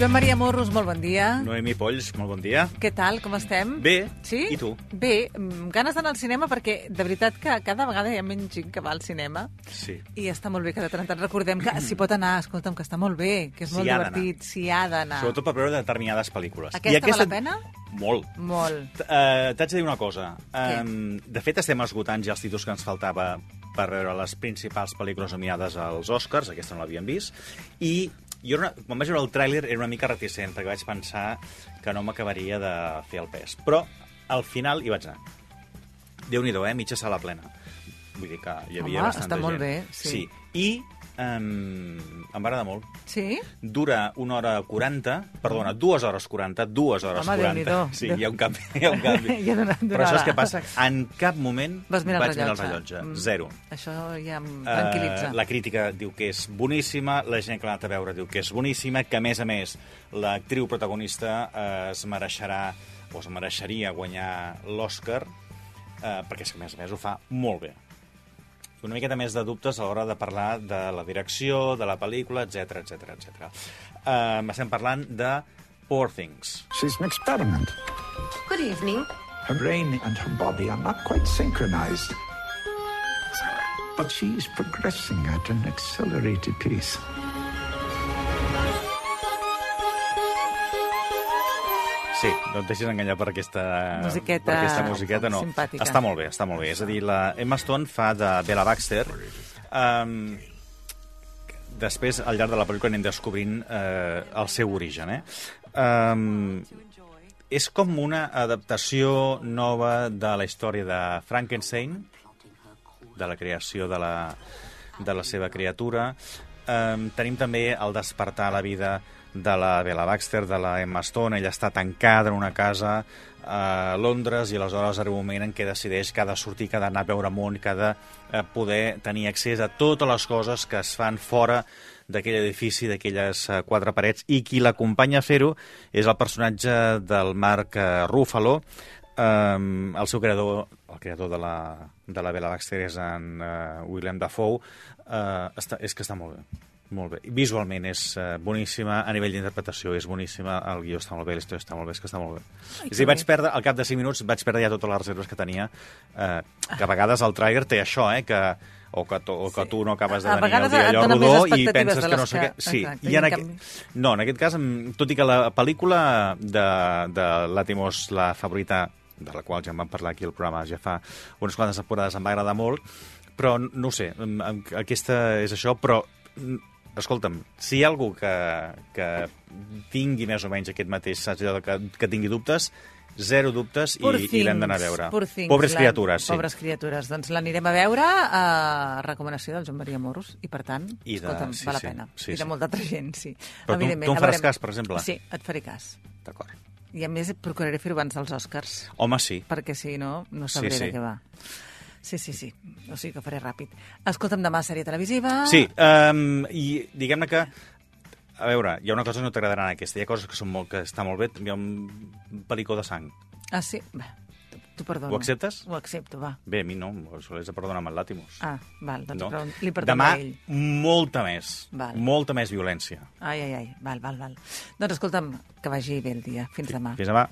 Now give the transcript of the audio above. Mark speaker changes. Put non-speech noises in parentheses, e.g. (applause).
Speaker 1: Joan Maria Morros, molt bon dia.
Speaker 2: Noemi Polls, molt bon dia.
Speaker 1: Què tal, com estem?
Speaker 2: Bé,
Speaker 1: Sí?
Speaker 2: i tu?
Speaker 1: Bé, mm, ganes d'anar al cinema perquè de veritat que cada vegada hi ha menys gent que va al cinema
Speaker 2: Sí.
Speaker 1: i està molt bé que de tant en tant recordem que s'hi pot anar, escolta'm, que està molt bé, que és
Speaker 2: S'hi
Speaker 1: molt
Speaker 2: ha d'anar.
Speaker 1: divertit, s'hi ha d'anar.
Speaker 2: Sobretot per veure determinades pel·lícules.
Speaker 1: Aquesta val la pena?
Speaker 2: Molt.
Speaker 1: Molt.
Speaker 2: T- eh, T'haig de dir una cosa.
Speaker 1: Què?
Speaker 2: Um, de fet, estem esgotant ja els títols que ens faltava per veure les principals pel·lícules nominades als Oscars, aquesta no l'havíem vist, i jo era una, quan vaig veure el tràiler era una mica reticent, perquè vaig pensar que no m'acabaria de fer el pes. Però al final hi vaig anar. Déu-n'hi-do, eh? Mitja sala plena. Vull dir que hi havia
Speaker 1: Home,
Speaker 2: bastanta
Speaker 1: està molt
Speaker 2: gent.
Speaker 1: bé, sí.
Speaker 2: sí. I um, em va agradar molt
Speaker 1: Sí?
Speaker 2: dura una hora 40, perdona, dues hores 40, dues hores
Speaker 1: Home,
Speaker 2: 40.
Speaker 1: Déu-n'hi-do.
Speaker 2: Sí,
Speaker 1: Déu-
Speaker 2: hi ha un canvi. Hi ha
Speaker 1: (laughs)
Speaker 2: un canvi.
Speaker 1: Hi ha d'una- d'una
Speaker 2: Però saps
Speaker 1: hora.
Speaker 2: què passa? En cap moment
Speaker 1: Vas mirar el
Speaker 2: vaig mirar el
Speaker 1: rellotge.
Speaker 2: rellotge.
Speaker 1: Mm.
Speaker 2: Zero.
Speaker 1: Això ja em
Speaker 2: Eh,
Speaker 1: tranquil·litza.
Speaker 2: la crítica diu que és boníssima, la gent que l'ha anat a veure diu que és boníssima, que a més a més l'actriu protagonista eh, es mereixerà o es mereixeria guanyar l'Oscar eh, perquè és que a més a més ho fa molt bé una miqueta més de dubtes a l'hora de parlar de la direcció, de la pel·lícula, etc etc etc. Eh, estem parlant de Poor Things.
Speaker 3: She's an experiment.
Speaker 4: Good evening.
Speaker 3: Her brain and her body are not quite synchronized. But she's progressing at an accelerated pace.
Speaker 2: Sí, no et deixis enganyar per aquesta
Speaker 1: Musiqueta
Speaker 2: per aquesta musiqueta no.
Speaker 1: simpàtica.
Speaker 2: Està molt bé, està molt bé. És a dir, la Emma Stone fa de Bella Baxter. Um, després, al llarg de la pel·lícula, anem descobrint eh, el seu origen. Eh? Um, és com una adaptació nova de la història de Frankenstein, de la creació de la, de la seva criatura. Um, tenim també el despertar a la vida de la Bella Baxter, de la Emma Stone. Ella està tancada en una casa a Londres i aleshores arriba un moment en què decideix que ha de sortir, que ha d'anar a veure món, que ha de eh, poder tenir accés a totes les coses que es fan fora d'aquell edifici, d'aquelles eh, quatre parets, i qui l'acompanya a fer-ho és el personatge del Marc eh, Ruffalo, Um, el seu creador, el creador de la, de la Bella Baxter és en uh, William Dafoe. Uh, està, és que està molt bé. Molt bé. Visualment és uh, boníssima, a nivell d'interpretació és boníssima, el guió està molt bé, l'història està molt bé, és que està molt bé. és a dir, vaig perdre, al cap de 5 minuts, vaig perdre ja totes les reserves que tenia, uh, que a vegades el trailer té això, eh, que o que, tu, o que tu no acabes de
Speaker 1: A
Speaker 2: tenir el
Speaker 1: vegades et
Speaker 2: dia allò
Speaker 1: donen més
Speaker 2: rodó i
Speaker 1: expectatives
Speaker 2: penses
Speaker 1: de
Speaker 2: que no
Speaker 1: les
Speaker 2: sé
Speaker 1: que-
Speaker 2: què... Sí,
Speaker 1: Exacte,
Speaker 2: i
Speaker 1: i en
Speaker 2: en, aqu...
Speaker 1: canvi-
Speaker 2: No, en aquest cas, mm, tot i que la pel·lícula de, de Latimos, la favorita, de la qual ja en vam parlar aquí al programa ja fa unes quantes temporades, em va agradar molt, però n- no ho sé, em- em- aquesta és això, però mm, escolta'm, si hi ha algú que, que tingui més o menys aquest mateix, saps, allò de que, que tingui dubtes, zero dubtes
Speaker 1: Poor
Speaker 2: i, i l'hem d'anar a
Speaker 1: Things,
Speaker 2: veure.
Speaker 1: Poor Things,
Speaker 2: Pobres
Speaker 1: la-
Speaker 2: criatures, sí.
Speaker 1: Pobres criatures. Doncs l'anirem a veure a recomanació del Joan Maria Moros i, per tant,
Speaker 2: I de-
Speaker 1: escolta'm,
Speaker 2: sí,
Speaker 1: val la
Speaker 2: sí,
Speaker 1: pena.
Speaker 2: sí,
Speaker 1: I de
Speaker 2: sí.
Speaker 1: molta altra gent, sí.
Speaker 2: Però tu-
Speaker 1: Evidentment,
Speaker 2: tu em
Speaker 1: a
Speaker 2: faràs
Speaker 1: veurem.
Speaker 2: cas, per exemple?
Speaker 1: Sí, et faré cas.
Speaker 2: D'acord.
Speaker 1: I, a més, procuraré fer-ho abans dels Oscars
Speaker 2: Home, sí.
Speaker 1: perquè si no, no
Speaker 2: Sí,
Speaker 1: sabré sí, sí.
Speaker 2: sí.
Speaker 1: de què va. Sí, sí, sí. O sigui que faré ràpid. Escolta'm, demà sèrie televisiva.
Speaker 2: Sí, um, i diguem-ne que... A veure, hi ha una cosa que no t'agradarà en aquesta. Hi ha coses que, són molt, que està molt bé. Hi ha un pelicó de sang.
Speaker 1: Ah, sí? Bé, t'ho- t'ho perdono.
Speaker 2: Ho acceptes?
Speaker 1: Ho accepto, va.
Speaker 2: Bé, a mi no, solés de perdonar amb el Làtimos.
Speaker 1: Ah, val, doncs
Speaker 2: no?
Speaker 1: no. li perdono
Speaker 2: Demà,
Speaker 1: a ell.
Speaker 2: molta més.
Speaker 1: Val.
Speaker 2: Molta més violència.
Speaker 1: Ai, ai, ai, val, val, val. Doncs escolta'm, que vagi bé el dia. Fins demà.
Speaker 2: Fins demà.